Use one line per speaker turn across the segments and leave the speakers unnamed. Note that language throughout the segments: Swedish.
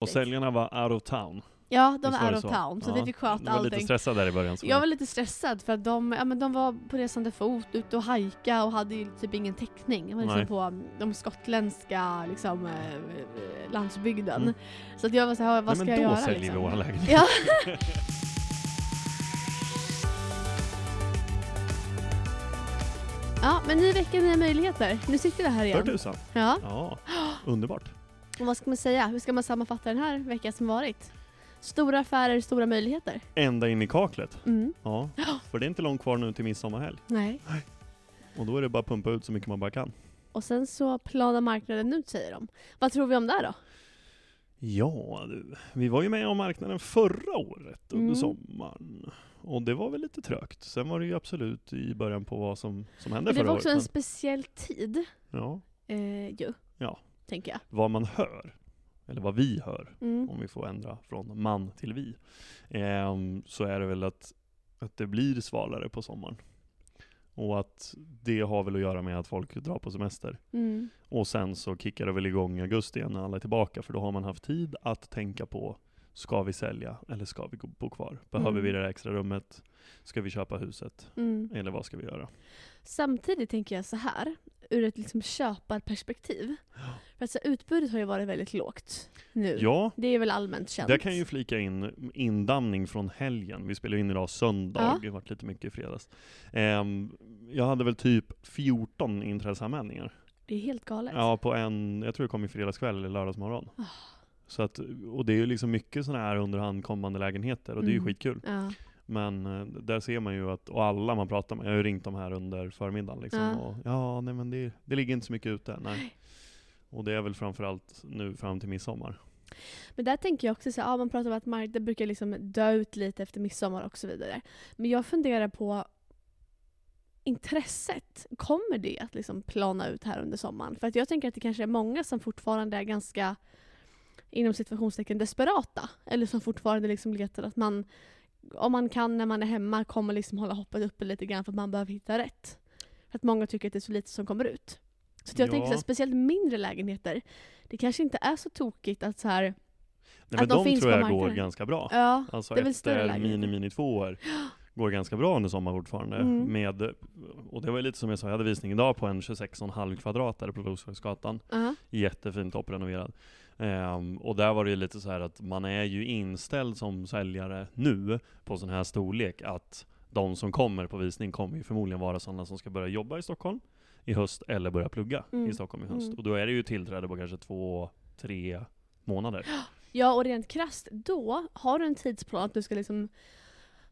Och säljarna var out of town.
Ja, de
Visst
var
var det
out of
så?
town, så
Ja,
vi fick sköta
Du var lite
allting.
stressad där i början. Så.
Jag var lite stressad för att de, ja, men de var på resande fot, ute och hajka och hade ju typ ingen täckning. De var liksom
Nej.
på de skottländska liksom, eh, eh, landsbygden.
Mm.
Så att jag var såhär, vad
Nej,
ska
men
jag
då
göra?
säljer
liksom?
vi våra lägenheter.
Ja. ja, men ny vecka, nya möjligheter. Nu sitter vi här
För
igen.
tusan.
Ja,
Ja, underbart.
och vad ska man säga? Hur ska man sammanfatta den här veckan som varit? Stora affärer, stora möjligheter.
Ända in i kaklet.
Mm.
Ja, för det är inte långt kvar nu till midsommarhelg.
Nej.
Och då är det bara att pumpa ut så mycket man bara kan.
Och sen så planar marknaden ut säger de. Vad tror vi om det då?
Ja du, vi var ju med om marknaden förra året under
Mm.
sommaren. Och det var väl lite trögt. Sen var det ju absolut i början på vad som, som hände
Men det
förra
var
året.
också en
men-
speciell tid
Ja,
eh, ju.
Ja.
Tänker jag.
vad man hör, eller vad vi hör,
Mm.
om vi får ändra från man till vi, ehm, så är det väl att, att det blir svalare på sommaren. Och att det har väl att göra med att folk drar på semester.
Mm.
Och sen så kickar det väl igång i augusti igen när alla är tillbaka, för då har man haft tid att tänka på Ska vi sälja eller ska vi gå- bo kvar? Behöver
Mm.
vi det där extra rummet? Ska vi köpa huset?
Mm.
Eller vad ska vi göra?
Samtidigt tänker jag så här, ur ett liksom köparperspektiv. För att så här, utbudet har ju varit väldigt lågt nu.
Ja,
Det är väl allmänt känt.
Där kan jag ju flika in indamning från helgen. Vi spelar ju in idag söndag,
Ja.
det har varit lite mycket i fredags. Ehm, jag hade väl typ 14 intresseanmälningar.
Det är helt galet.
Ja, på en, jag tror det kom i fredagskväll eller lördagsmorgon.
Ah.
Så att, och det är ju liksom mycket sådana här underhand kommande lägenheter och det är ju
Mm.
skitkul.
Ja.
Men eh, där ser man ju att, och alla man pratar med, jag har ju ringt dem här under förmiddagen liksom,
Ja.
och ja, nej men det, det ligger inte så mycket ute. Nej. Och det är väl framförallt nu fram till midsommar.
Men där tänker jag också så här, ja, man pratar om att marknaden brukar liksom dö ut lite efter midsommar och så vidare. Men jag funderar på intresset. Kommer det att liksom plana ut här under sommaren? För att jag tänker att det kanske är många som fortfarande är ganska inom situationstecken desperata. Eller som fortfarande liksom letar att man, om man kan när man är hemma, kommer liksom hålla hoppet uppe lite grann för att man behöver hitta rätt. För att många tycker att det är så lite som kommer ut. Så att jag
Ja.
tänker så här, speciellt mindre lägenheter, det kanske inte är så tokigt att så här,
Nej, men
de
de,
finns
tror
på
jag går
marknaden.
ganska bra.
ja,
Alltså
Det är väl större
efter
lägenheter.
mini-mini-tvåor går ganska bra under sommaren fortfarande.
Mm.
Med, och det var ju lite som jag sa, jag hade visning idag på en 26,5 kvadrat där på Roslagsgatan.
ja. uh-huh.
Jättefint topprenoverad. Ehm, och där var det ju lite så här att man är ju inställd som säljare nu på sån här storlek att de som kommer på visning kommer ju förmodligen vara sådana som ska börja jobba i Stockholm i höst eller börja plugga
Mm.
i Stockholm i höst.
Mm.
Och då är det ju tillträde på kanske två, tre månader.
Ja, och rent krasst då har du en tidsplan att du ska liksom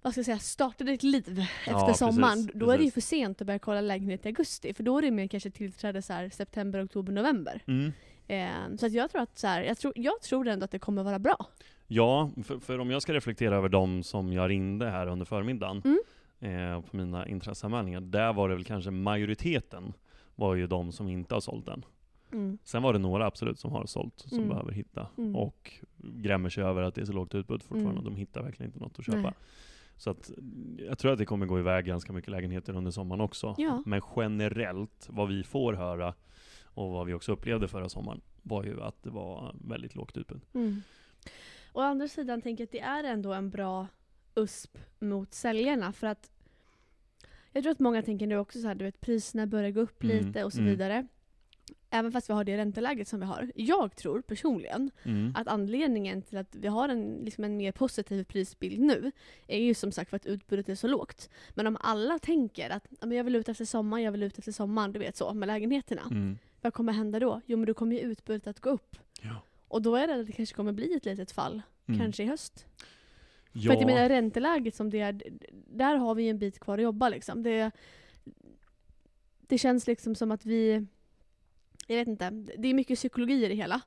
vad ska jag säga, starta ditt liv efter
Ja, precis,
sommaren. Då är det ju
precis.
för sent att börja kolla lägenhet i augusti. För då är det mer kanske tillträde så här, september, oktober, november.
Mm.
Eh, så att jag tror att så här, jag, tror, jag tror ändå att det kommer vara bra.
Ja, för, för om jag ska reflektera över de som jag ringde här under förmiddagen
Mm.
eh, på mina intresseanmälningar, där var det väl kanske majoriteten var ju de som inte har sålt än. Sen var det några absolut som har sålt, som
Mm.
behöver hitta
Mm.
och grämmer sig över att det är så lågt utbud fortfarande
Mm.
och de hittar verkligen inte något att köpa.
Nej.
Så att, jag tror att det kommer gå iväg ganska mycket lägenheter under sommaren också.
Ja.
Men generellt, vad vi får höra och vad vi också upplevde förra sommaren, var ju att det var väldigt lågt utbud.
Mm. Å andra sidan tänker jag att det är ändå en bra USP mot säljarna. För att jag tror att många tänker nu också så här, du vet priserna börjar gå upp
Mm,
lite och så
mm.
vidare. Även fast vi har det ränteläget som vi har. Jag tror personligen
Mm.
att anledningen till att vi har en, liksom en mer positiv prisbild nu är ju som sagt för att utbudet är så lågt. Men om alla tänker att "Ja, men jag vill ut efter sommaren, jag vill ut efter sommaren, du vet så, med lägenheterna.
Mm.
Vad kommer hända då? Jo men då kommer ju utbudet att gå upp.
Ja.
Och då är det att det kanske kommer bli ett litet fall.
Mm.
Kanske i höst.
Ja.
För att jag menar ränteläget som det är, d- d- där har vi ju en bit kvar att jobba liksom. Det, det känns liksom som att vi, jag vet inte, det är mycket psykologi i det hela.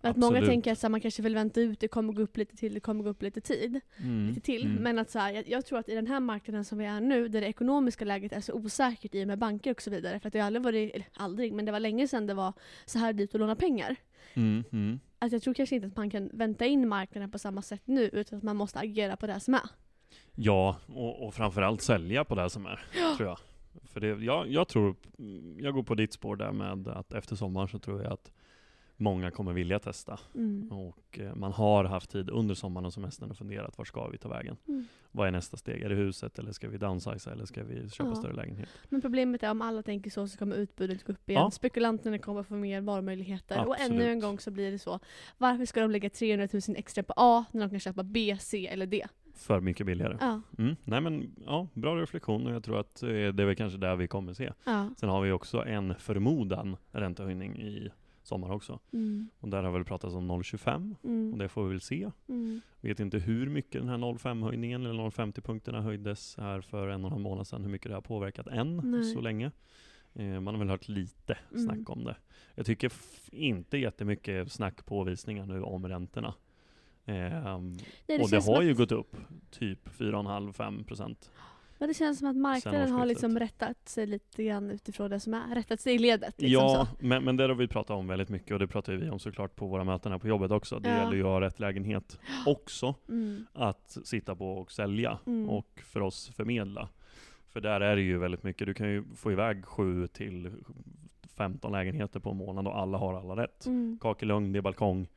Att många
Absolut.
tänker att så här, man kanske vill vänta ut, det kommer gå upp lite till, det kommer gå upp lite tid.
Mm,
Lite till.
mm.
Men att så här, jag, jag tror att i den här marknaden som vi är nu, där det ekonomiska läget är så osäkert i och med banker och så vidare. För att det har aldrig varit, eller aldrig, men det var länge sedan det var så här dyrt att låna pengar.
Mm, mm.
Att jag tror kanske inte att man kan vänta in marknaden på samma sätt nu, utan att man måste agera på det som är.
Ja, och, och framförallt sälja på det som är, tror jag. För det, jag, jag tror, jag går på ditt spår där med att efter sommaren så tror jag att många kommer vilja testa.
Mm.
Och eh, man har haft tid under sommaren och semestern och funderat, vart ska vi ta vägen?
Mm.
Vad är nästa steg? Är det huset eller ska vi downsiza eller ska vi köpa
Ja.
större lägenhet?
Men problemet är om alla tänker så så kommer utbudet gå upp igen.
Ja.
Spekulanterna kommer få mer varumöjligheter. Och
Absolut.
ännu en gång så blir det så. Varför ska de lägga 300 000 extra på A när de kan köpa B, C eller D?
För mycket billigare.
Ja.
Mm. Nej men ja, bra reflektion och jag tror att eh, det är väl kanske där vi kommer se.
ja.
Sen har vi också en förmodan räntehöjning i sommar också.
Mm.
Och där har väl pratats om 0,25 och
Mm.
det får vi väl se.
Mm.
Vet inte hur mycket den här 0,5 höjningen eller 0,50 punkterna höjdes här för en och en halv månad sedan. Hur mycket det har påverkat än
Nej.
så länge. Eh, man har väl hört lite
Mm.
snack om det. Jag tycker f- inte jättemycket snack på visningar nu om räntorna. Ehm,
Nej,
och det
känns som
har
att-
ju gått upp typ 4,5-5 procent.
Men det känns som att marknaden har
årsskiftet.
liksom rättat sig lite grann utifrån det som är. Rättat sig i ledet. Liksom
Ja,
Så.
men, men det har vi pratat om väldigt mycket och det pratar ju vi om såklart på våra möten här på jobbet också. Det
Ja.
gäller ju att ha rätt lägenhet också.
Mm.
att sitta på och sälja
Mm.
och för oss förmedla. För där är det ju väldigt mycket, du kan ju få iväg 7 till 15 lägenheter på en månad och alla har alla rätt.
Mm.
Kakelugn, det är balkong,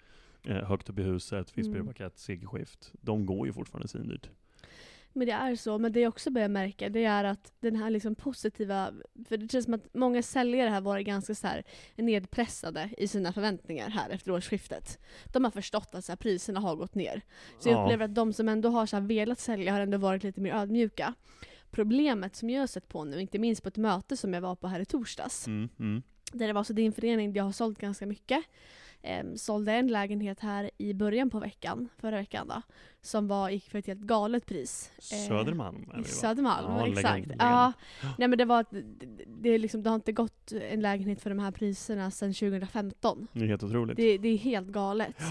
eh, högt upp i huset,
Mm.
Fiskbyrakett, segelskift. De går ju fortfarande svindyrt.
Men det är så. Men det jag också börjar märka det är att den här liksom positiva, för det känns som att många säljare här varit ganska så här nedpressade i sina förväntningar här efter årsskiftet. De har förstått att så här, priserna har gått ner. Så jag
Ja.
upplever att de som ändå har så här, velat sälja har ändå varit lite mer ödmjuka. Problemet som jag har sett på nu, inte minst på ett möte som jag var på här i torsdags,
Mm, mm,
där det var så din förening, där jag har sålt ganska mycket. Ehm, sålde en lägenhet här i början på veckan, förra veckan då, som var, gick för ett helt galet pris. Ehm,
Södermalm är
i
vi, va?
Södermalm,
Ja,
exakt.
legend-
Ja.
legend.
Nej men det var att det, det, är liksom, det har inte gått en lägenhet för de här priserna sedan 2015.
Det är helt otroligt.
Det, det är helt galet.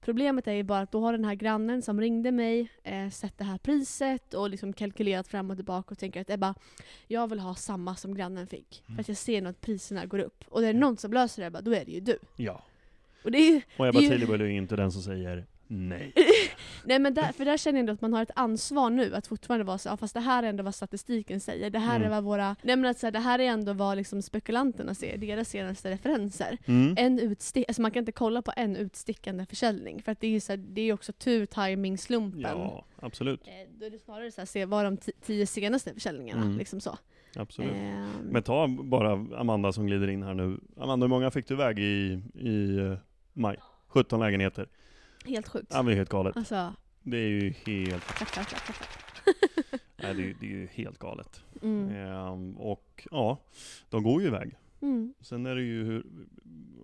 Problemet är ju bara att då har den här grannen som ringde mig eh, sett det här priset och liksom kalkylerat fram och tillbaka och tänker att Ebba, jag vill ha samma som grannen fick. För att jag ser nog att priserna går upp. Och är det någon som löser det, Ebba, då är det ju du.
Ja.
Och det är ju,
Och Ebba
Det är ju-
Tillerborg är ju inte den som säger nej.
nej men där, för där känner jag ändå att man har ett ansvar nu att fortfarande vara så ja, fast det här är ändå vad statistiken säger. Det här
Mm.
är vad våra, nej men att så här, det här är ändå vad liksom spekulanterna ser, deras senaste referenser.
Mm.
En utstick, alltså man kan inte kolla på en utstickande försäljning för att det är ju så här, det är ju också tur, timing, slumpen.
Ja, absolut.
Eh, Då är det snarare så här, se vad de ti- tio senaste försäljningarna,
Mm.
liksom så.
absolut.
Ehm,
Men ta bara Amanda som glider in här nu. Amanda, hur många fick du iväg i, i eh, maj? 17 lägenheter.
helt sjukt.
Ja, men det är helt galet.
Alltså,
Det är ju helt,
klapp, klapp, klapp, klapp, klapp.
nej, det är, ju- det är ju helt galet.
Mm.
Ehm, och ja, de går ju iväg.
Mm.
Sen är det ju hur,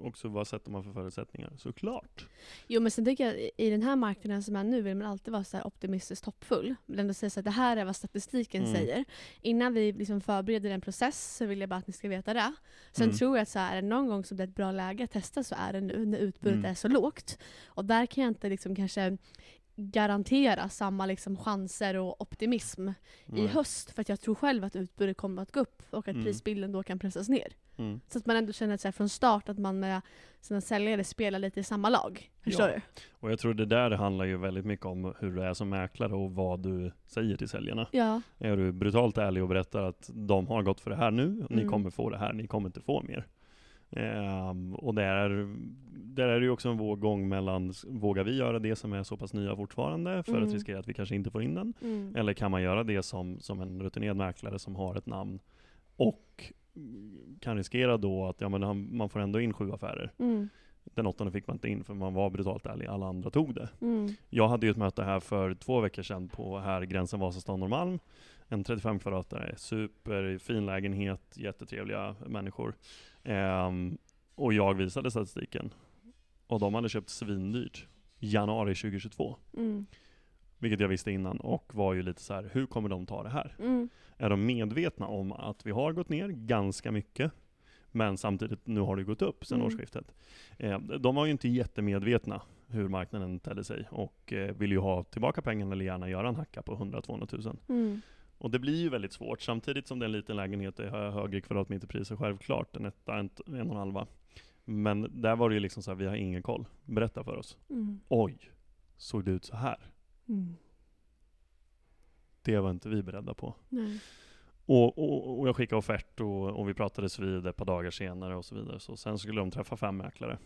också vad sätter man för förutsättningar? Såklart.
Jo men sen tycker jag i- i den här marknaden som är nu vill man alltid vara så här optimistiskt hoppfull. Men ändå säga så att det här är vad statistiken
Mm.
säger. Innan vi liksom förbereder en process så vill jag bara att ni ska veta det. Sen
Mm.
tror jag att så här, är det någon gång som det är ett bra läge att testa så är det nu när utbudet
Mm.
är så lågt. Och där kan jag inte liksom kanske garantera samma liksom chanser och optimism i
Nej.
höst för att jag tror själv att utbudet kommer att gå upp och att
Mm.
prisbilden då kan pressas ner.
Mm.
Så att man ändå känner att så här, från start att man med sina säljare spelar lite i samma lag. Förstår
Ja.
du?
Och jag tror det där handlar ju väldigt mycket om hur du är som mäklare och vad du säger till säljarna.
Ja.
Är du brutalt ärlig och berättar att de har gått för det här nu, och ni
Mm.
kommer få det här, ni kommer inte få mer. Ehm, och där, där är det ju också en våg- gång mellan, s- vågar vi göra det som är så pass nya fortfarande för
Mm.
att riskera att vi kanske inte får in den?
Mm.
Eller kan man göra det som, som en rutinerad mäklare som har ett namn och mm, kan riskera då att ja, men han, man får ändå in sju affärer.
Mm.
Den åttonde fick man inte in för man var brutalt ärlig, alla andra tog det.
Mm.
Jag hade ju ett möte här för två veckor sedan på här gränsen Vasastan Norrmalm. En 35 kvadratare, superfin lägenhet, jättetrevliga människor. Ehm, och jag visade statistiken. Och de hade köpt svindyrt, januari 2022.
Mm.
Vilket jag visste innan och var ju lite så här: hur kommer de ta det här?
Mm.
Är de medvetna om att vi har gått ner ganska mycket, men samtidigt nu har det gått upp sedan
Mm.
årsskiftet. Eh, de var ju inte jättemedvetna hur marknaden tedde sig och eh, vill ju ha tillbaka pengarna eller gärna göra en hacka på 100-200 000.
Mm.
Och det blir ju väldigt svårt, samtidigt som det är en liten lägenhet, det har högre kvadratmeterpriser självklart, en etta, en, t- en och en halva. Men där var det ju liksom så här, vi har ingen koll. Berätta för oss.
Mm.
Oj, såg det ut så här?
Mm.
Det var inte vi beredda på.
Nej.
Och, och, och jag skickade offert och, och vi pratades vid ett par dagar senare och så vidare. Så sen skulle de träffa fem mäklare.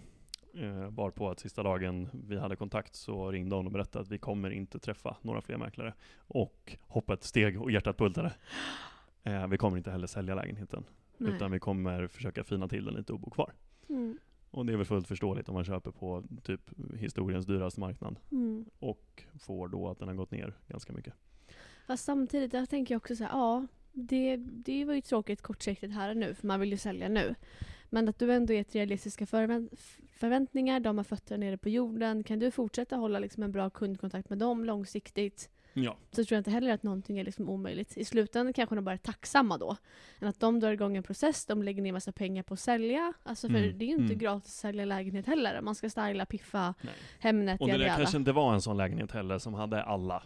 Eh, varpå att sista dagen vi hade kontakt så ringde hon och berättade att vi kommer inte träffa några fler mäklare. Och hoppa ett steg och hjärtat bultade. Eh, vi kommer inte heller sälja lägenheten.
Nej.
Utan vi kommer försöka fina till den lite och bo kvar.
Mm.
Och det är väl fullt förståeligt om man köper på typ historiens dyraste marknad.
Mm.
Och får då att den har gått ner ganska mycket.
Fast samtidigt, där tänker jag också så här, ja, det, det var ju tråkigt kortsiktigt här och nu, för man vill ju sälja nu. Men att du ändå gett realistiska förvä- f- förväntningar, de har fötterna nere på jorden. Kan du fortsätta hålla liksom en bra kundkontakt med dem långsiktigt
Ja.
så tror jag inte heller att någonting är liksom omöjligt. I slutändan kanske de bara är tacksamma då. Än att de drar igång en process, de lägger ner massa pengar på att sälja. Alltså för
Mm,
det är ju inte
mm.
gratis att sälja lägenhet heller. Man ska styla, piffa,
Nej.
Hemnet,
Och det
jada,
där
jada.
kanske inte var en sån lägenhet heller som hade alla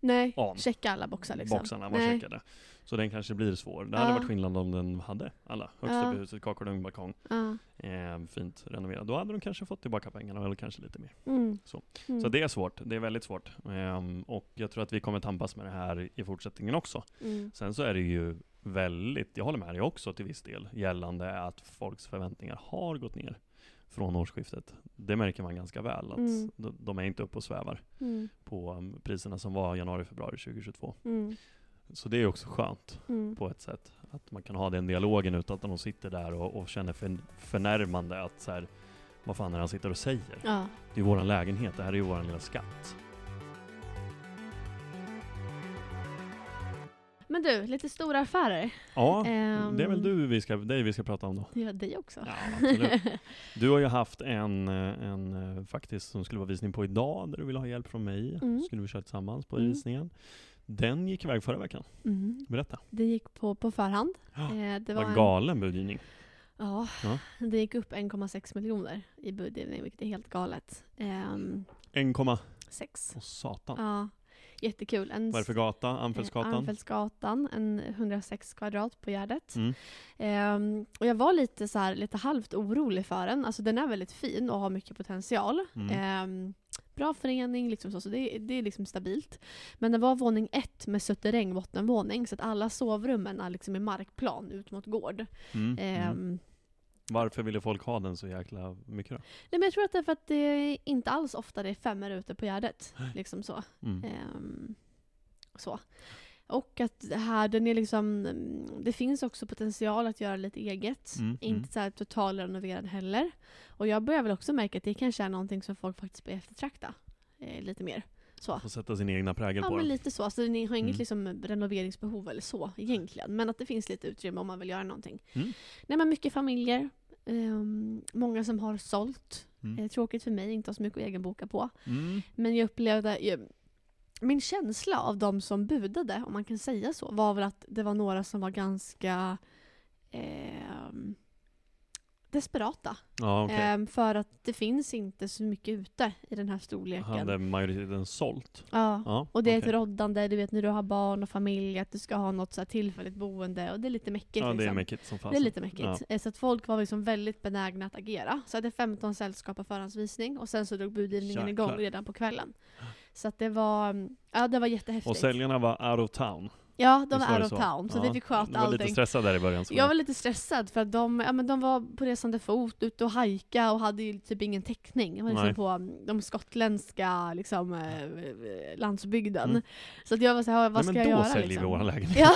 Nej,
an.
checka alla boxar liksom.
boxarna var
Nej.
checkade. Så den kanske blir svår. Det
Ja.
hade varit skillnad om den hade alla. Högsta
Ja.
huset, kakelugn, balkong.
Ja.
Eh, fint renoverat. Då hade de kanske fått tillbaka pengarna eller kanske lite mer.
Mm.
Så.
Mm.
Så det är svårt. Det är väldigt svårt. Ehm, och jag tror att vi kommer tampas med det här i fortsättningen också.
Mm.
Sen så är det ju väldigt, jag håller med dig också till viss del, gällande att folks förväntningar har gått ner från årsskiftet. Det märker man ganska väl att
Mm.
de, de är inte uppe och svävar
Mm.
på um, priserna som var januari, februari 2022.
Mm.
Så det är också skönt
Mm.
på ett sätt. Att man kan ha den dialogen utan att de sitter där och, och känner för, förnärmande att så här, vad fan är det han sitter och säger?
Ja.
Det är våran lägenhet, det här är ju våran lilla skatt.
Men du, lite stora affärer.
Ja,
Ehm.
det är väl du vi ska, dig vi ska prata om då?
Det var dig också.
Ja, absolut. Du har ju haft en, eh, en eh, faktiskt som skulle vara visning på idag, där du ville ha hjälp från mig.
Mm.
Skulle vi köra tillsammans på
Mm.
visningen. Den gick iväg förra veckan.
Mm.
Berätta.
Det gick på, på förhand.
Ja,
Eh, det var
Vad
en,
galen budgivning.
ja,
Ja.
det gick upp 1,6 miljoner i budgivning, vilket är helt galet. Ehm,
1,6.
sex.
Åh satan.
Ja, jättekul. En
Vad är det för gata? Anfältsgatan?
Eh, Anfältsgatan, en 106 kvadrat på Gärdet.
Mm.
Ehm, och jag var lite, så här, lite halvt orolig för den. Alltså den är väldigt fin och har mycket potential.
Mm.
Ehm, bra förening, liksom så, så det, det är liksom stabilt. Men det var våning ett med suterräng bottenvåning så att alla sovrummen är liksom i markplan ut mot gård.
Mm.
Ehm,
Mm. Varför ville folk ha den så jäkla mycket då?
nej, men jag tror att det är för att det är inte alls ofta det är femmor ute på Gärdet. Liksom så.
Mm.
Ehm, så. Och att det här, den är liksom, mm, det finns också potential att göra lite eget.
Mm, mm.
Inte så här totalrenoverad heller. Och jag börjar väl också märka att det kanske är någonting som folk faktiskt börjar eftertrakta. Eh, lite mer. Så.
Får sätta sin egna prägel
Ja
på
men
den.
lite så. Alltså ni har inget
Mm.
liksom renoveringsbehov eller så egentligen. Men att det finns lite utrymme om man vill göra någonting.
Mm.
Nej men mycket familjer. ehm, många som har sålt.
Mm.
Eh, tråkigt för mig, inte har så mycket att egenboka på.
Mm.
Men jag upplevde, jag, min känsla av de som budade, om man kan säga så, var väl att det var några som var ganska ehm, desperata.
Ja, okej.
Ehm, för att det finns inte så mycket ute i den här storleken.
Hade majoriteten sålt?
Ja.
Ja,
Och det är
okej.
ett roddande, du vet när du har barn och familj, att du ska ha något så här tillfälligt boende och det är lite mäckigt.
Ja, det är
liksom.
mäckigt Alltså. som fasen.
Det är lite mäckigt. Eh, Så att folk var liksom väldigt benägna att agera. Så jag hade 15 sällskap på förhandsvisning och sen så drog budgivningen
Jäklar.
igång redan på kvällen. Så att det var, mm, ja det var jättehäftigt.
Och säljarna var out of town.
ja, de
Visst
var
det
out of town så
Ja.
vi fick sköta
Du var lite
allting.
stressad där i början. så
Jag var lite stressad för att de, ja, men de var på resande fot, ute och hajka och hade ju typ ingen täckning. De var liksom
Nej.
på mm, de skottländska liksom, eh, landsbygden.
Mm.
Så att jag var såhär, vad
Nej,
ska
men
jag
då
göra?
säljer
liksom?
vi våra lägenhet.
Ja.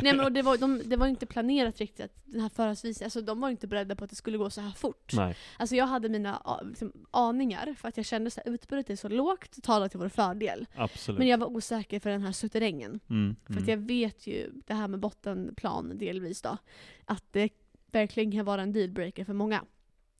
Nej men och det var, de, det var ju inte planerat riktigt att den här förhandsvisningen, alltså de var ju inte beredda på att det skulle gå så här fort.
Nej.
Alltså jag hade mina a- liksom, aningar för att jag kände att utbudet är så lågt, talar till vår fördel.
Absolut.
Men jag var osäker för den här suterrängen.
Mm,
För att
mm.
jag vet ju, det här med bottenplan delvis då, att det verkligen kan vara en dealbreaker för många.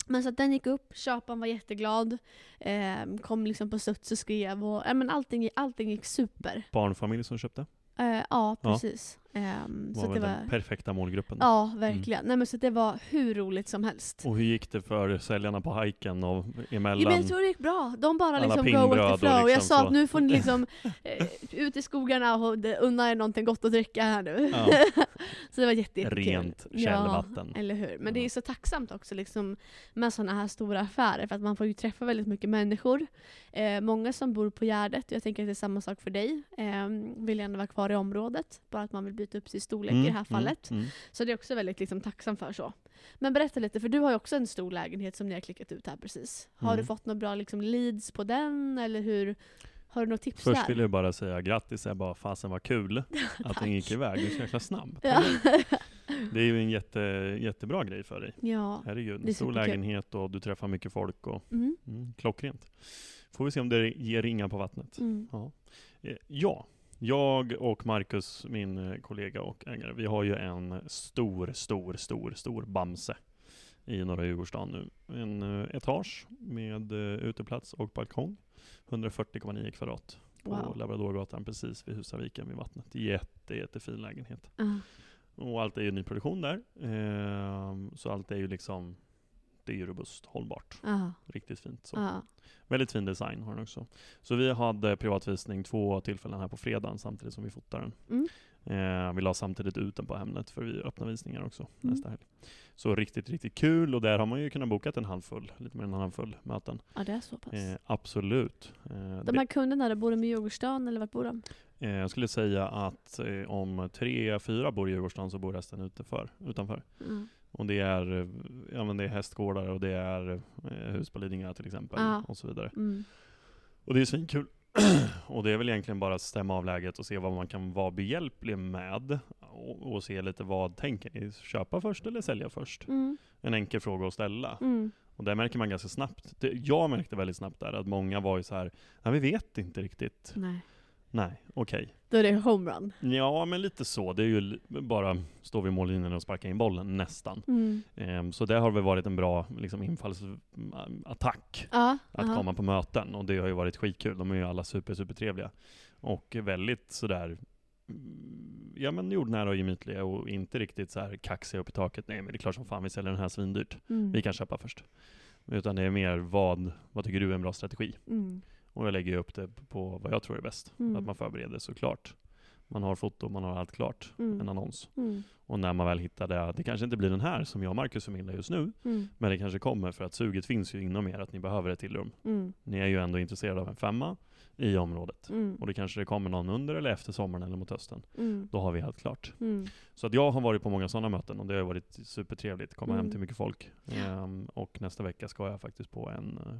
Men så att den gick upp, köparen var jätteglad, eh, kom liksom på studs och skrev och eh, men allting, allting gick super.
Barnfamilj som köpte.
Eh, ja,
Ja.
precis. Ehm,
Var
så att det
väl
var...
den perfekta målgruppen.
Ja, verkligen. Nej, men så det var hur roligt som helst.
Och hur gick det för säljarna på hajken och emellan?
Ja, men jag tror det gick bra. De bara
Alla
liksom go
pinnbröd
with the
och
flow. jag
liksom
sa
så.
att nu får ni liksom eh, ut i skogarna och de- unna er någonting gott att dricka här nu.
Ja.
så det var jätte, jättekul.
Rent källvatten.
Ja, eller hur. Men
Ja.
det är så tacksamt också liksom, med sådana här stora affärer för att man får ju träffa väldigt mycket människor. Eh, många som bor på Gärdet, och jag tänker att det är samma sak för dig, eh, vill gärna vara kvar i området. Bara att man vill byta upp sin storlek i det här fallet.
Mm, mm.
Så det är också väldigt liksom, tacksam för så. Men berätta lite, för du har ju också en stor lägenhet som ni har klickat ut här precis. Har
Mm.
du fått några bra liksom, leads på den, eller hur? Har du några tips
Först
där?
vill jag bara säga grattis, jag bara fasen vad kul att den gick iväg. Du är så jäkla snabb.
Ja.
Det är ju en jätte, jättebra grej för dig.
ja.
Herregud,
Det är
en stor
superkul.
lägenhet och du träffar mycket folk och
Mm.
mm, klockrent. Får vi se om det ger ringar på vattnet.
Mm.
Ja. Eh, ja, jag och Marcus, min eh, kollega och ägare, vi har ju en stor, stor, stor, stor Bamse i norra Djurgårdsstaden nu. En eh, etage med eh, uteplats och balkong. 140,9 kvadrat på
Wow.
Labradorgatan precis vid Husaviken vid vattnet. Jätte, jättefin lägenhet.
Ja.
Och allt är ju nyproduktion där. Ehm, så allt är ju liksom, det är ju robust, hållbart,
Ja.
riktigt fint. Så.
Ja.
Väldigt fin design har den också. Så vi hade privatvisning två tillfällen här på fredagen samtidigt som vi fotar den.
Mm.
Eh, vi la samtidigt ut den på Hemnet för vi öppnar visningar också
Mm.
nästa helg. Så riktigt, riktigt kul och där har man ju kunnat boka en handfull, lite mer än en handfull möten.
ja, det är så pass.
Eh, absolut. Eh,
de här kunderna, där, bor de i Djurgårdsstaden eller vart bor de?
det, eh, jag skulle säga att eh, om tre, fyra bor i Djurgårdsstaden så bor resten utanför. utanför.
Ja.
Och det är, eh, ja, men det är hästgårdar och det är eh, hus på Lidingö till exempel.
Ja.
Och så vidare.
Mm.
Och det är svinkul. och det är väl egentligen bara att stämma av läget och se vad man kan vara behjälplig med. Och, och se lite vad tänker ni? Köpa först eller sälja först?
Mm.
En enkel fråga att ställa.
Mm.
Och där märker man ganska snabbt. Det, jag märkte väldigt snabbt där att många var ju så här, nej vi vet inte riktigt.
Nej.
Nej, okej.
Då är det homerun.
Ja, men lite så. Det är ju li- bara stå vid mållinjen och sparka in bollen, nästan.
Mm.
Ehm, så det har väl varit en bra liksom, infallsattack.
Ja.
att
aha.
komma på möten och det har ju varit skitkul. De är ju alla super, super trevliga och väldigt sådär mm, Ja men jordnära och gemytliga och inte riktigt så här kaxiga upp i taket. Nej men det är klart som fan vi säljer den här svindyrt.
Mm.
Vi kan köpa först. Utan det är mer vad, vad tycker du är en bra strategi?
Mm.
Och jag lägger ju upp det på vad jag tror är bäst.
Mm.
Att man förbereder såklart. Man har foto, man har allt klart.
Mm.
En annons.
Mm.
Och när man väl hittar det, det kanske inte blir den här som jag och Marcus förmedlar just nu.
Mm.
Men det kanske kommer för att suget finns ju inom er att ni behöver ett till rum.
Mm.
Ni är ju ändå intresserade av en femma i området.
Mm.
Och det kanske det kommer någon under eller efter sommaren eller mot hösten.
Mm.
Då har vi helt klart.
Mm.
Så att jag har varit på många sådana möten och det har ju varit supertrevligt. Komma
Mm.
hem till mycket folk. Ehm, och nästa vecka ska jag faktiskt på en, eh,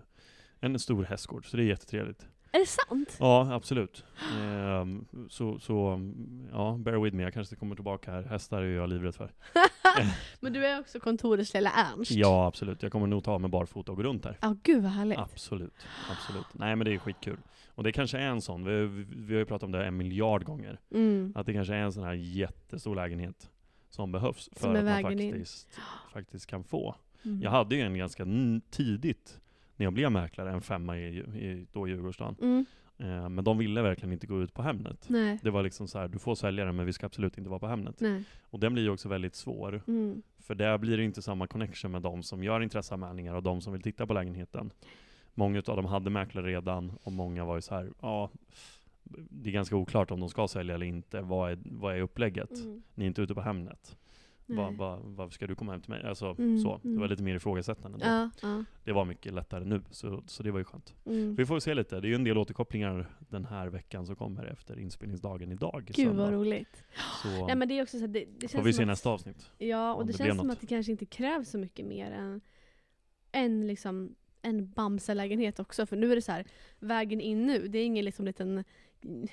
en stor hästgård. Så det är jättetrevligt.
Är det sant?
Ja, absolut. Ehm, så, så mm, ja, bear with me. Jag kanske kommer tillbaka här. Hästar är jag livrädd för.
Men du är också kontorets lilla Ernst.
Ja, absolut. Jag kommer nog ta mig barfota och gå runt där.
Ja, gud vad härligt.
Absolut, absolut. Nej men det är skitkul. Och det kanske är en sån, vi, vi, vi har ju pratat om det här en miljard gånger,
Mm.
att det kanske är en sån här jättestor lägenhet som behövs för
Som är
att man
vägen in.
faktiskt, faktiskt kan få.
Mm.
Jag hade ju en ganska n- tidigt, när jag blev mäklare, en femma i, i då Djurgårdsstaden.
Mm.
Eh, men de ville verkligen inte gå ut på Hemnet.
Nej.
Det var liksom så här, du får sälja den men vi ska absolut inte vara på Hemnet.
Nej.
Och den blir ju också väldigt svår,
Mm.
för där blir det inte samma connection med de som gör intresseanmälningar och de som vill titta på lägenheten. Många av dem hade mäklare redan och många var ju så här, ja, det är ganska oklart om de ska sälja eller inte. Vad är, vad är upplägget?
Mm.
Ni är inte ute på Hemnet.
Nej.
Va, va, varför ska du komma hem till mig? Alltså,
Mm,
så. Det var
mm.
lite mer ifrågasättande då.
Ja, ja.
Det var mycket lättare nu, så, så det var ju skönt.
Mm.
Vi får se lite. Det är ju en del återkopplingar den här veckan som kommer efter inspelningsdagen idag.
Gud vad
söndag.
roligt.
Så
Nej men det är också så här, det,
får
det känns
vi
som
se
att-
nästa avsnitt.
Ja, och
om
det,
det blev
känns som
något.
att det kanske inte krävs så mycket mer än en, liksom, en Bamse-lägenhet också. För nu är det så här, vägen in nu, det är ingen liksom liten mm,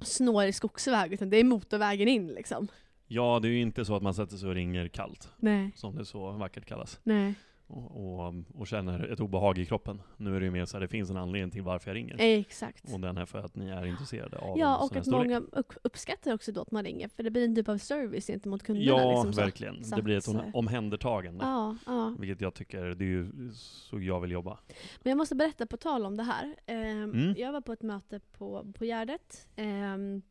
snårig skogsväg, utan det är motorvägen in liksom.
Ja, det är ju inte så att man sätter sig och ringer kallt.
Nej.
som det så vackert kallas,
Nej.
och, och, och känner ett obehag i kroppen. Nu är det ju mer så här, det finns en anledning till varför jag ringer.
Exakt.
Och den är för att ni är intresserade av en
Ja,
sån
och
här
att
storlek.
många upp- uppskattar också då att man ringer, för det blir en typ av service gentemot kunderna.
Ja,
liksom så.
verkligen.
Så
det blir ett
att,
sån-
eh,
omhändertagande.
Ja, ja.
Vilket jag tycker, det är ju så jag vill jobba.
Men jag måste berätta på tal om det här. Ehm,
Mm.
Jag var på ett möte på, på Gärdet. ehm,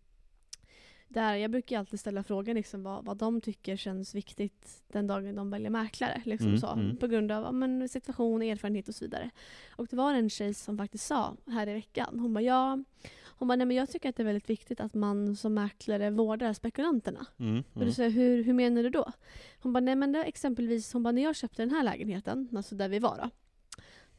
där jag brukar ju alltid ställa frågan liksom vad, vad de tycker känns viktigt den dagen de väljer mäklare. Liksom
Mm,
så,
mm.
På grund av ja, men, situation, erfarenhet och så vidare. Och det var en tjej som faktiskt sa här i veckan, hon bara ja, hon bara, nej, men jag tycker att det är väldigt viktigt att man som mäklare vårdar spekulanterna.
Mm,
Och
mm,
då sa jag, hur, hur menar du då? Hon bara, nej men det var exempelvis, hon bara, när jag köpte den här lägenheten, alltså där vi var då.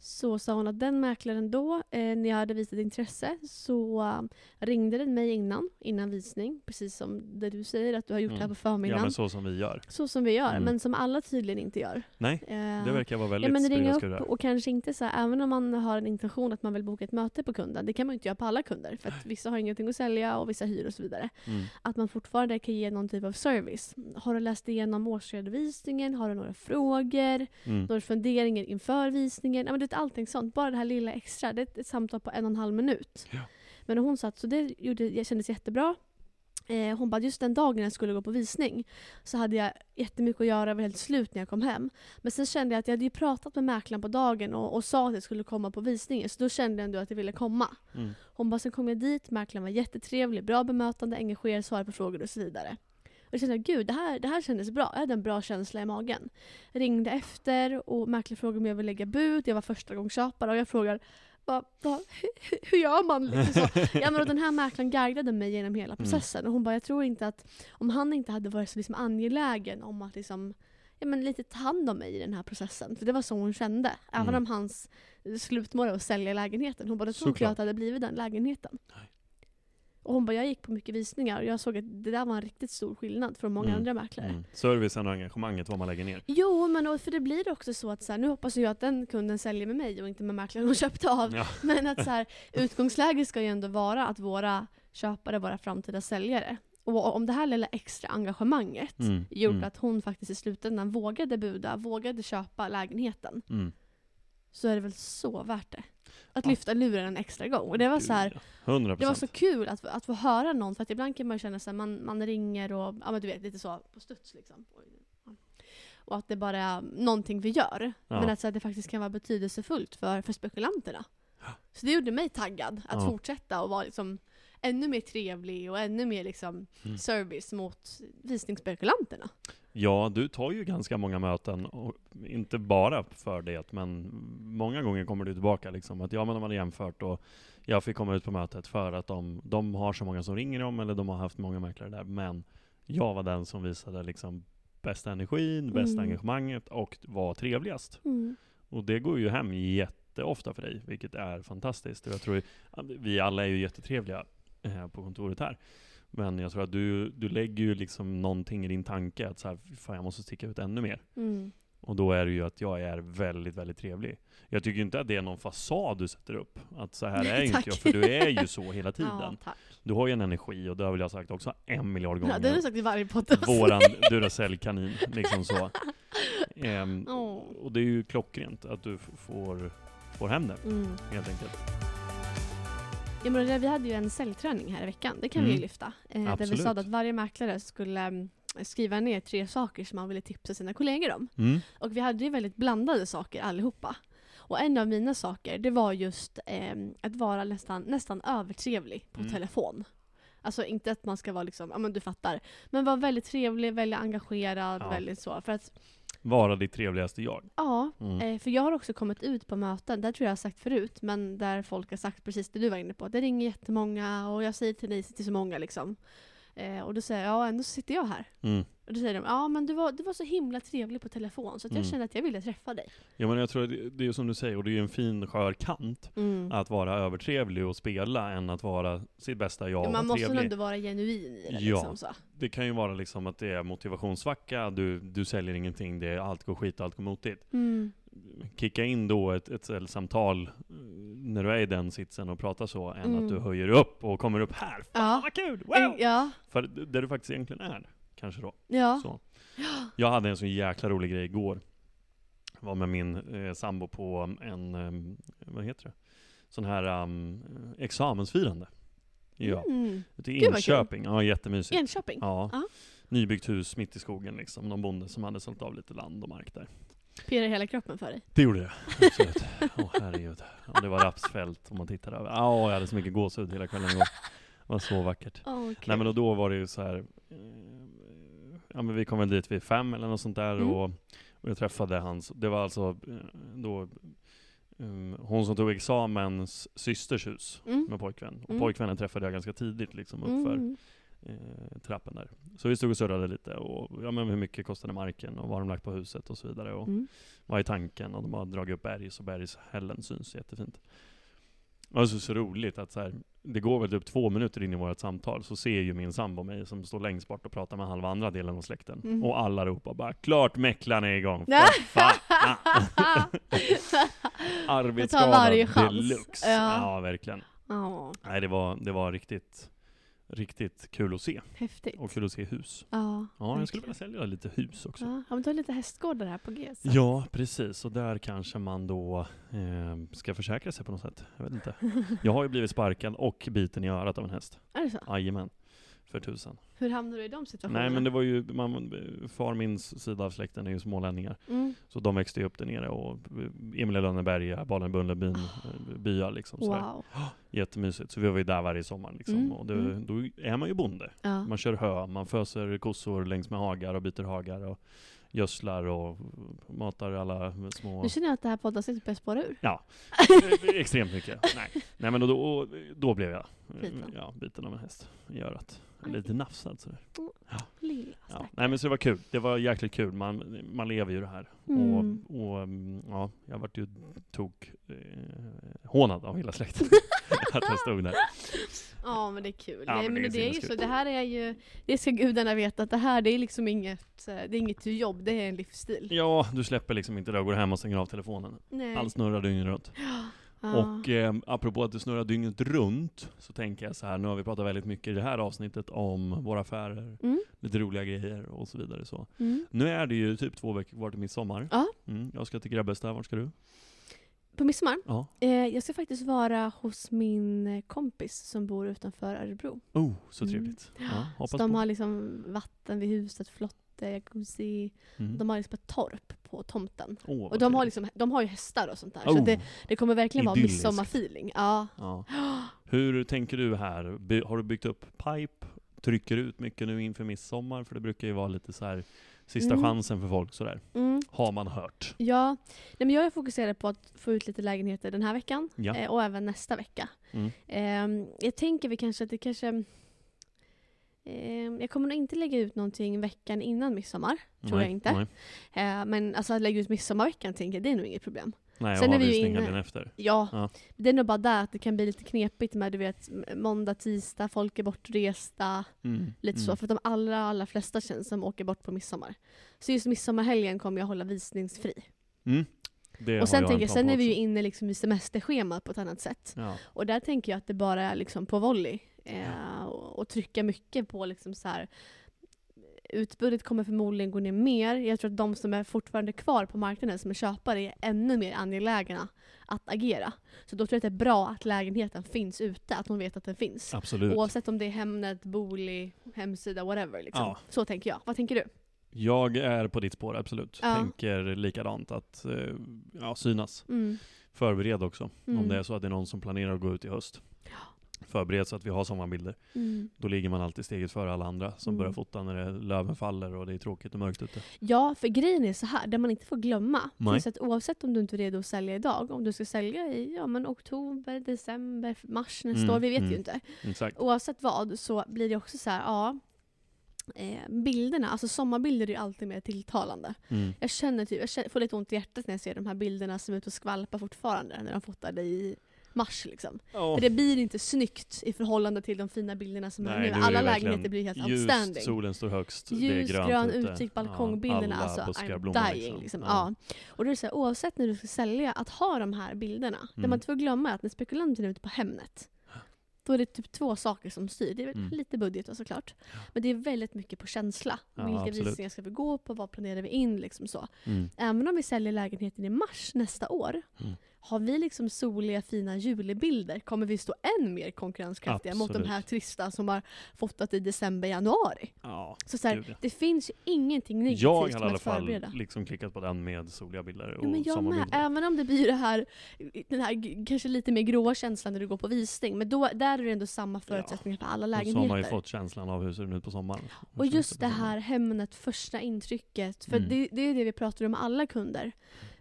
Så sa hon att den mäklaren då, eh, när jag hade visat intresse, så eh, ringde den mig innan, innan visning. Precis som det du säger, att du har gjort det här
Mm.
på
Ja
förmiddagen.
men så
så...
som vi gör.
som vi gör,
Mm.
men som alla tydligen inte gör.
Nej,
Eh,
det verkar vara
Ja,
väldigt
men ringa
spridat
upp
skurar.
och kanske inte så här, även om man har en intention att man vill boka ett möte på kunden, det kan man ju inte göra på alla kunder, för att vissa har ingenting att sälja och vissa hyr och så vidare.
Mm.
Att man fortfarande kan ge någon typ av service. Har du läst igenom årsredovisningen? Har du några frågor?
Mm.
Några funderingar inför visningen? Ja, men det är allting sånt. Bara det här lilla extra. Det är ett- ett samtal på en och en halv minut.
Ja.
Men hon satt, så det gjorde, jag kändes jättebra. Eh, hon bara, just den dagen jag skulle gå på visning så hade jag jättemycket att göra, var helt slut när jag kom hem. Men sen kände jag att jag hade ju pratat med mäklaren på dagen och, och sa att jag skulle komma på visningen, så då kände jag ändå att jag ville komma.
Mm.
Hon bara, sen kom jag dit, mäklaren var jättetrevlig, bra bemötande, engagerad, svarade på frågor och så vidare. Och jag kände, gud det här, det här kändes bra, jag hade en bra känsla i magen. Ringde efter och mäklaren frågade om jag ville lägga bud, jag var första gång köpare och jag frågar, vad, vad, hur gör man? Liksom så. Ja, men och den här mäklaren guidade mig genom hela processen och hon bara, jag tror inte att om han inte hade varit så liksom angelägen om att liksom, ja, men lite ta hand om mig i den här processen, för det var så hon kände. Även
Mm.
om hans slutmål var att sälja lägenheten. Hon bara, det tror inte
Såklart.
jag att det hade blivit den lägenheten.
Nej.
Och hon bara, jag gick på mycket visningar och jag såg att det där var en riktigt stor skillnad från många
Mm.
andra mäklare.
Mm. Servicen och engagemanget vad man lägger ner.
Jo, men och för det blir också så att så här, nu hoppas jag att den kunden säljer med mig och inte med mäklaren hon köpte av.
Ja.
Men att så här, utgångsläget ska ju ändå vara att våra köpare, våra framtida säljare. Och om det här lilla extra engagemanget
Mm.
gjort
Mm.
att hon faktiskt i slutändan vågade buda, vågade köpa lägenheten,
Mm.
så är det väl så värt det. Att
Ja.
lyfta luren en extra gång. Och det var så här,
100
det var så kul att, att få höra någon, för att ibland kan man ju känna sig man, man ringer och, ja men du vet, lite så på studs liksom. Oj. Ja. Och att det bara är någonting vi gör.
Ja.
Men att så här, det faktiskt kan vara betydelsefullt för, för spekulanterna. Så det gjorde mig taggad att
Ja.
fortsätta och vara liksom ännu mer trevlig och ännu mer liksom
Mm.
service mot visningsspekulanterna.
Ja, du tar ju ganska många möten, och inte bara för det, men många gånger kommer du tillbaka liksom att ja, men de hade jämfört och jag fick komma ut på mötet för att de, de har så många som ringer dem eller de har haft många mäklare där, men jag var den som visade liksom bästa energin, bästa
Mm.
engagemanget och var trevligast. Och det går ju hem jätteofta för dig, vilket är fantastiskt. Och jag tror ju, vi alla är ju jättetrevliga eh, på kontoret här. Men jag tror att du, du lägger ju liksom någonting i din tanke att så här, "Fy fan jag måste sticka ut ännu mer.
Mm.
Och då är det ju att jag är väldigt, väldigt trevlig. Jag tycker ju inte att det är någon fasad du sätter upp. Att så här är
Nej,
inte
tack.
jag, för du är ju så hela
Ja,
tiden.
tack.
Du har ju en energi, och det har väl jag sagt också en miljard gånger.
Ja, det har du sagt i varje podd.
Våran Duracell-kanin, liksom så. Ehm,
Åh.
Och det är ju klockrent att du f- får, får hem det,
Mm.
helt enkelt.
Ja, men det- vi hade ju en säljträning här i veckan, det kan vi ju
Mm.
lyfta. Eh, där vi
Absolut.
sa att varje mäklare skulle mm, skriva ner tre saker som man ville tipsa sina kollegor om.
Mm.
Och vi hade ju väldigt blandade saker allihopa. Och en av mina saker, det var just eh, att vara nästan, nästan övertrevlig på
Mm.
telefon. Alltså inte att man ska vara liksom, ja men du fattar. Men vara väldigt trevlig, väldigt engagerad,
Ja.
väldigt så. För att,
Vara ditt trevligaste jag.
ja,
Mm.
Eh, För jag har också kommit ut på möten, där tror jag jag har sagt förut, men där folk har sagt precis det du var inne på. Det ringer jättemånga och jag säger till dig till så många liksom. Eh, Och då säger jag, ja ändå så sitter jag här.
Mm.
Och då säger de, ja men du var, du var så himla trevlig på telefon så att jag
Mm.
kände att jag ville träffa dig.
Ja, men jag tror att det, det är som du säger, och det är ju en fin skör kant
Mm.
att vara övertrevlig och spela än att vara sitt bästa jag
Men Man
och
måste
trevlig.
nog ändå vara genuin i det
Ja.
liksom. Så.
Det kan ju vara liksom att det är motivationssvacka, du, du säljer ingenting, det är, allt går skit, allt går motigt.
Mm.
Kicka in då ett, ett säljsamtal eh, när du är i den sitsen och pratar så, än
Mm.
att du höjer upp och kommer upp här. Fan
Ja. Eh,
vad kul! Wow!
Ja.
För det där du faktiskt egentligen är, kanske då.
Ja.
Så. Jag hade en så jäkla rolig grej igår. Jag var med min eh, sambo på en, eh, vad heter det? Sån här um, examensfirande. Ja,
Mm.
ute
Gud,
i
vad kul.
Enköping. Ja, jättemysigt.
Enköping?
Ja.
Ja.
Nybyggt hus mitt i skogen liksom. Någon bonde som hade sålt av lite land och mark där.
Pirrar hela kroppen för dig?
Det gjorde det. Absolut. Åh herregud. Och det var rapsfält om man tittar över. Ja, jag hade så mycket gåshud hela kvällen igår. Det var så vackert.
Åh,
Nej
kul.
men och då var det ju så här. eh, Ja men vi kom väl dit vid fem eller något sånt där
Mm.
och, och jag träffade hans, det var alltså eh, då eh, hon som tog examens systers hus
Mm.
med pojkvän. Och
Mm.
pojkvännen träffade jag ganska tidigt liksom uppför
Mm.
eh, trappen där. Så vi stod och surrade lite och ja, men hur mycket kostade marken och vad har de lagt på huset och så vidare. Och
Mm.
vad är tanken? Och de har dragit upp berg, så bergshällen syns jättefint. Och så, så roligt att så här, det går väl typ två minuter in i vårt samtal, så ser ju min sambo mig som står längst bort och pratar med halva andra delen av släkten.
Mm.
Och alla ropar bara ”Klart mäklaren är igång!”
Nej.
För fan! Ah, Arbetsskada
Jag tar varje chans.
deluxe!
Ja.
Ja. verkligen.
Ja,
Nej, det var, det var riktigt, riktigt kul att se.
häftigt.
Och kul att se hus.
Ja,
Ja, jag skulle
verkligen.
vilja sälja lite hus också.
Ja, ja, men du har lite hästgårdar här på G. så-
Ja, precis. Och där kanske man då eh, ska försäkra sig på något sätt. Jag vet inte. Jag har ju blivit sparkad och biten i örat av en häst.
Är det så?
Jajamän. För tusan.
Hur hamnar du i de situationerna?
Nej men det var ju, man, far mins sida av släkten är ju smålänningar.
mm.
Så de växte ju upp där nere och eh, Emilia Lönneberga, Balen Bullebyn, eh, byar liksom. Så här.
Wow.
Jättemysigt. Så vi var ju där varje sommar liksom.
Mm,
Och det,
mm.
då är man ju bonde.
Ja.
Man kör hö, man föser kossor längs med hagar och byter hagar och gödslar och matar alla små...
Nu känner jag att det här poddavsnittet börjar spåra ur.
Ja, extremt mycket. Nej, Nej men då, då, då blev jag eh,
Biten.
Ja, biten av en häst i örat.
Aj.
Lite nafsad sådär.
Lilla
Ja.
stack.
Nej men så det var kul. Det var jäkligt kul. Man, man lever ju det här.
Mm.
Och, och mm, ja, jag vart ju tok eh, hånad av hela släkten. att jag stod där.
Ja men det är kul.
Ja,
Nej,
men
men
det
det,
är
är ju
sinnessjukt.
så. Det här är ju, det ska gudarna veta att det här det är liksom inget, eh, det är inget jobb, det är en livsstil.
Ja, du släpper liksom inte det och går hem och stänger av telefonen.
Nej.
Allt snurrar dygnet runt.
Ja.
Och eh, apropå att det snurrar dygnet runt, så tänker jag så här, nu har vi pratat väldigt mycket i det här avsnittet om våra affärer,
Mm.
lite roliga grejer och så vidare. Så.
Mm.
Nu är det ju typ två veckor kvar till midsommar.
Ja.
Mm, jag ska till Grebbestad, vart ska du?
På midsommar,
Ja.
eh, jag ska faktiskt vara hos min eh, kompis som bor utanför Örebro.
Oh, så
Mm.
trevligt. Ja, hoppas
så de
på.
har liksom vatten vid huset, flotte, jacuzzi.
Mm.
De har liksom ett torp på tomten.
Åh, vad
Och de har,
trevligt.
liksom, de har ju hästar och sånt där.
Oh,
Så det, det kommer verkligen vara
idylliskt.
midsommarfeeling. Ja.
ja. Hur tänker du här? By- har du byggt upp pipe? Trycker du ut mycket nu inför midsommar? För det brukar ju vara lite så här sista
Mm.
chansen för folk sådär.
Mm.
Har man hört.
Ja, nej, men jag är fokuserad på att få ut lite lägenheter den här veckan
Ja.
eh, och även nästa vecka.
Mm.
Ehm, jag tänker vi kanske att det kanske... ehm, jag kommer nog inte lägga ut någonting veckan innan midsommar. tror jag inte.
Nej,
Eh, men alltså att lägga ut midsommarveckan tänker jag, det är nog inget problem.
nej
Sen
och
är vi ju
avvisningen
inne-
den efter.
Ja,
Ja.
det är nog bara där att det kan bli lite knepigt med du vet m- måndag, tisdag, folk är bortresta.
Mm.
Lite så, för att de allra, allra flesta känns som åker bort på midsommar. Så just midsommarhelgen kommer jag hålla visningsfri.
Mm. Det
och
har
sen
jag
tänker
en
jag,
plan
sen
på
är vi ju
också.
inne liksom i semesterschemat på ett annat sätt.
Ja.
Och där tänker jag att det bara är liksom på volley. Eh, och, och trycka mycket på liksom så här. Utbudet kommer förmodligen gå ner mer. Jag tror att de som är fortfarande kvar på marknaden som är köpare är ännu mer angelägna att agera. Så då tror jag att det är bra att lägenheten finns ute, att de vet att den finns.
Absolut.
Oavsett om det är Hemnet, Booli, hemsida, whatever. Liksom.
Ja.
Så tänker jag. Vad tänker du?
Jag är på ditt spår, absolut.
Ja.
Tänker likadant, att eh, ja, synas.
Mm.
Förbered också, om
Mm.
det är så att det är någon som planerar att gå ut i höst. Förbered så att vi har sommarbilder.
Mm.
Då ligger man alltid steget före alla andra som
Mm.
börjar fota när det, löven faller och det är tråkigt och mörkt ute.
Ja, för grejen är så här, det man inte får glömma.
Nej.
det är så att oavsett om du inte är redo att sälja idag, om du ska sälja i ja, men oktober, december, mars nästa
Mm,
år, vi vet
mm.
ju inte.
Exakt.
Oavsett vad så blir det också så här, ja. Eh, bilderna, alltså sommarbilder är ju alltid mer tilltalande.
Mm.
Jag känner typ, jag känner, får lite ont i hjärtat när jag ser de här bilderna som är ute och skvalpar fortfarande när de fotade i mars liksom.
Ja.
För det blir inte snyggt i förhållande till de fina bilderna som
Nej,
är
nu är
nu.
det
Alla
verkligen
lägenheter blir helt
Ljust,
outstanding
solen står högst,
ljus,
det är grönt
grön
ute.
utsikt,
Ja,
balkongbilderna.
alla
alltså,
buskar
I'm
blommar
dying. Liksom. Ja. Och då är det så här, oavsett när du ska sälja, att ha de här bilderna. Det
Mm.
man inte får glömma är att när spekulanten är ute på Hemnet, då är det typ två saker som styr. Det är väl
Mm.
lite budget då, såklart. Men det är väldigt mycket på känsla.
Ja,
Vilka
absolut.
visningar ska vi gå på? Vad planerar vi in? Liksom så.
Mm.
Även om vi säljer lägenheten i mars nästa år,
Mm.
har vi liksom soliga fina julibilder kommer vi stå än mer konkurrenskraftiga mot
Absolut.
de här trista som har fotat i december, januari.
Ja.
Så, så här,
Gud, ja.
det finns ju ingenting negativt
Jag har i
med
alla
att
fall
förbereda.
liksom klickat på den med soliga bilder och
Ja, men jag med,
sommarbilder.
även om det blir det här, den här g- kanske lite mer gråa känslan när du går på visning. Men då, där är det ändå samma förutsättningar för alla
Och så har man ju
lägenheter.
fått känslan av hur ser den ut på sommaren. Hur
Och
ser den
just
ut
det
på sommaren?
här Hemnet, första intrycket. För
Mm.
det, det är det vi pratar om med alla kunder.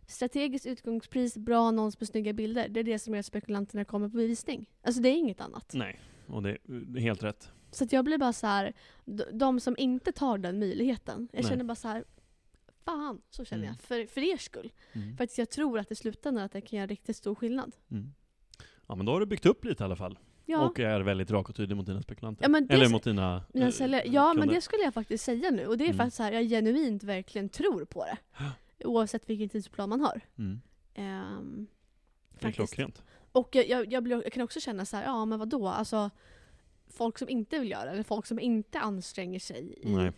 Strategiskt utgångspris, bra annons med snygga
Mm.
bilder. Det är det som gör att spekulanterna kommer på visning. Alltså det är inget annat.
Nej, och det det är helt rätt.
Så att jag blir bara så här, d- de som inte tar den möjligheten. Jag
Nej.
känner bara så här, fan, så känner
Mm.
jag. För, för er skull.
Mm.
För att jag tror att i slutändan att det kan göra riktigt stor skillnad.
Mm. Ja men då har du byggt upp lite i alla fall.
Ja,
Och är väldigt rak och tydlig mot dina spekulanter.
Ja, men det-
Eller mot dina
mina
eh,
säljare- ja men
kunder.
det skulle jag faktiskt säga nu. Och det är för
Mm.
att så här, jag genuint verkligen tror på det. Oavsett vilken tidsplan man har.
Mm.
Ehm,
Det är
faktiskt.
klockrent.
Och jag, jag, jag, blir, jag kan också känna så här, ja men vadå? Alltså, folk som inte vill göra det, eller folk som inte anstränger sig i
Nej.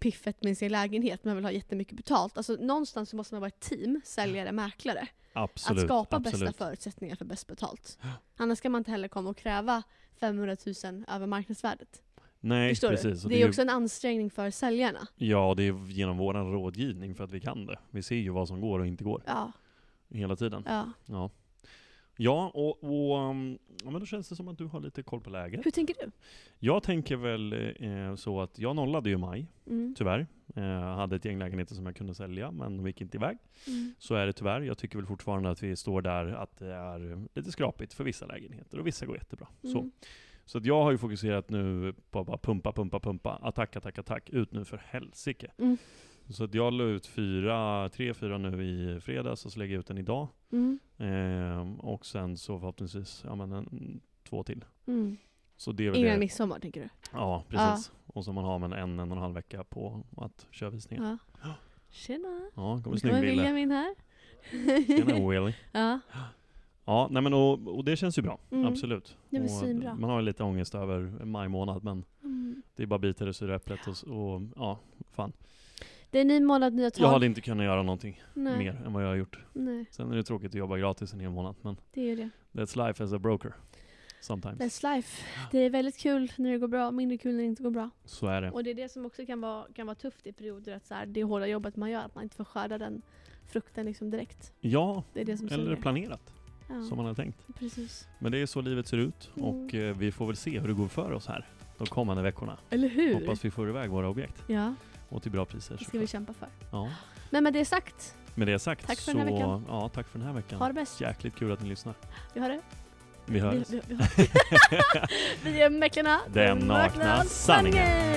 piffet med sin lägenhet men vill ha jättemycket betalt. Alltså någonstans så måste man vara ett team, säljare, mäklare.
Absolut.
att skapa
absolut.
bästa förutsättningar för bäst betalt. Annars kan man inte heller komma och kräva 500 000 över marknadsvärdet.
Nej
Förstår
precis.
du?
Och
Det är
ju-
också en ansträngning för säljarna.
Ja, det är genom vår rådgivning för att vi kan det. Vi ser ju vad som går och inte går
Ja,
hela tiden.
ja.
Ja, ja och, och um, ja, men då känns det som att du har lite koll på läget.
Hur tänker du?
Jag tänker väl eh, så att jag nollade ju i maj,
Mm.
tyvärr. Eh, Jag hade ett gäng lägenheter som jag kunde sälja, men de gick inte iväg.
Mm.
Så är det tyvärr. Jag tycker väl fortfarande att vi står där att det är lite skrapigt för vissa lägenheter och vissa går jättebra. Så.
Mm.
Så att jag har ju fokuserat nu på att bara pumpa, pumpa, pumpa. Attack, attack, attack. Ut nu för helsike.
Mm.
Så att jag la ut fyra, tre, fyra nu i fredags och så lägger jag ut den idag.
Mm.
Ehm, och sen så förhoppningsvis, ja men en, två till.
Mm.
Så det är väl
Innan
det.
midsommar tänker du?
Ja, precis. Och så man har man en, en och en halv vecka på att köra visningar.
Ja. Tjena!
Ja, kommer
Nu
snygg
kommer
Wille.
Benjamin här.
Tjena Willy.
ja.
Ja, nej men och, och det känns ju bra.
Mm.
Absolut.
Det är väl
Och
svinbra.
Man har ju lite ångest över maj månad men
Mm.
det är bara bitar i sura äpplet och, s- och ja, fan.
Det är en ny månad, nya tag.
Jag hade inte kunnat göra någonting
Nej.
mer än vad jag har gjort.
Nej,
Sen är det tråkigt att jobba gratis en hel månad, men
det är ju det.
that's life as a broker. Sometimes.
That's life. Det är väldigt kul när det går bra, mindre kul när det inte går bra.
Så är det.
Och det är det som också kan vara, kan vara tufft i perioder, att så här, det hårda jobbet man gör, att man inte får skörda den frukten liksom direkt.
Ja,
Det är det som
eller
suger.
planerat,
Ja,
som man har tänkt.
precis.
Men det är så livet ser ut
Mm.
och eh, vi får väl se hur det går för oss här de kommande veckorna.
Eller hur?
Hoppas vi får iväg våra objekt
Ja,
och till bra priser.
det ska vi
såklart.
kämpa för.
Ja.
Men med det sagt,
Med det sagt
Tack för
så...
den här veckan.
Ja, tack för den här veckan.
ha det bäst.
Jäkligt kul att ni lyssnar.
Vi har det.
Vi
Vi,
hörs.
vi, vi, har vi är Mäklarna.
Den nakna sanningen.